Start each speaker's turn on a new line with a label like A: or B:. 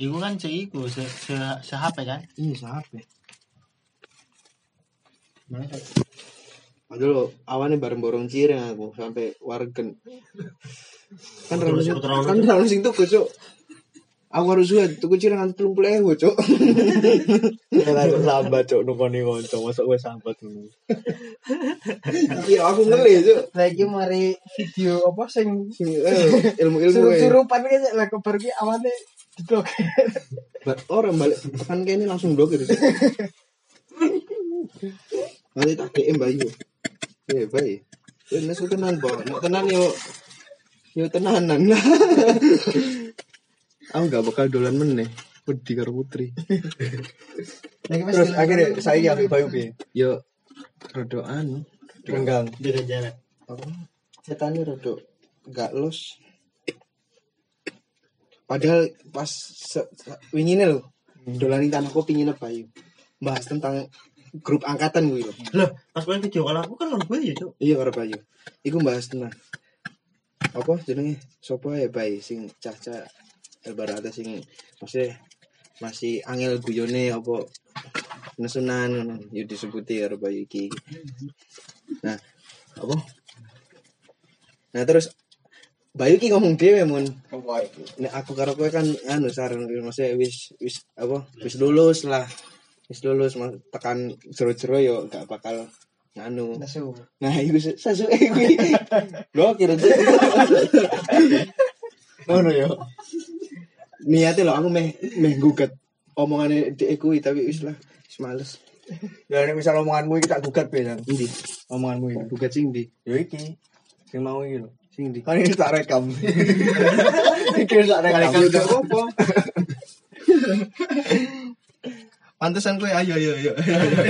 A: Iku kan se iku se se, se HP kan.
B: Iya, siapa? Aduh, awalnya bareng borong cireng aku sampai wargen. kan
A: Terus
B: ramen
A: aku terlalu-
B: kan ramen sing tuku, Cuk. Aku harus juga tuku cireng nganti 30.000, Cuk.
C: Aku sambat cok nukoni konco, masuk gue sambat dulu.
B: Iya, aku ngeli, Cuk.
D: Lagi mari video apa sing
B: Sing, eh, Ilmu-ilmu eh.
D: surup-surupan kan lah kabar ki awalnya ditok.
B: Ba- orang balik tekan kene langsung gitu, blokir. Nanti tak DM Bayu. Eh, Bayu. Eh, nesu tenan, Bo. Nek tenan yo yo tenanan lah. Aku gak bakal dolan meneh. Wedi karo putri.
D: Lagi
C: Terus akhirnya
B: anu,
C: saya yang bayu bi,
B: Yo rada anu,
C: renggang.
A: Jaga jarak.
B: apa? Setane rada gak los. Padahal pas se- se- wingine lho, dolani tanah kopi nginep Bayu. Bahas tentang grup angkatan gue lho.
A: Loh, pas gue video call aku kan lawan gue ya, Cuk.
B: Iya karo Bayu. Iku bahas tenang. Apa jenenge? Sopo ya Bay sing caca ibaratnya sing masih masih angel guyone apa nesunan ngono yo disebuti karo Bayu iki. Nah, apa? Nah terus Bayu ki ngomong dhewe mun nek aku karo kowe kan anu saran maksudnya wis wis apa wis lulus lah wis lulus mas- tekan jero-jero yo gak bakal anu
D: Nesu.
B: Nah, iku se- sasuke kuwi. Blokir aja.
C: Ngono ya.
B: Niate lho aku meh meh gugat omongane dhek kuwi tapi wis lah, wis males.
C: Ya ini misal omonganmu iki tak gugat bi Jan.
B: Endi?
C: Omonganmu ini.
B: Gugat sing ndi?
C: Yo Ya iki. Sing mau iki lho.
B: Sing ndi?
C: Kan ini tak rekam. Iki tak rekam.
B: Kalau gak apa Pantesan kowe ayo ayo ayo.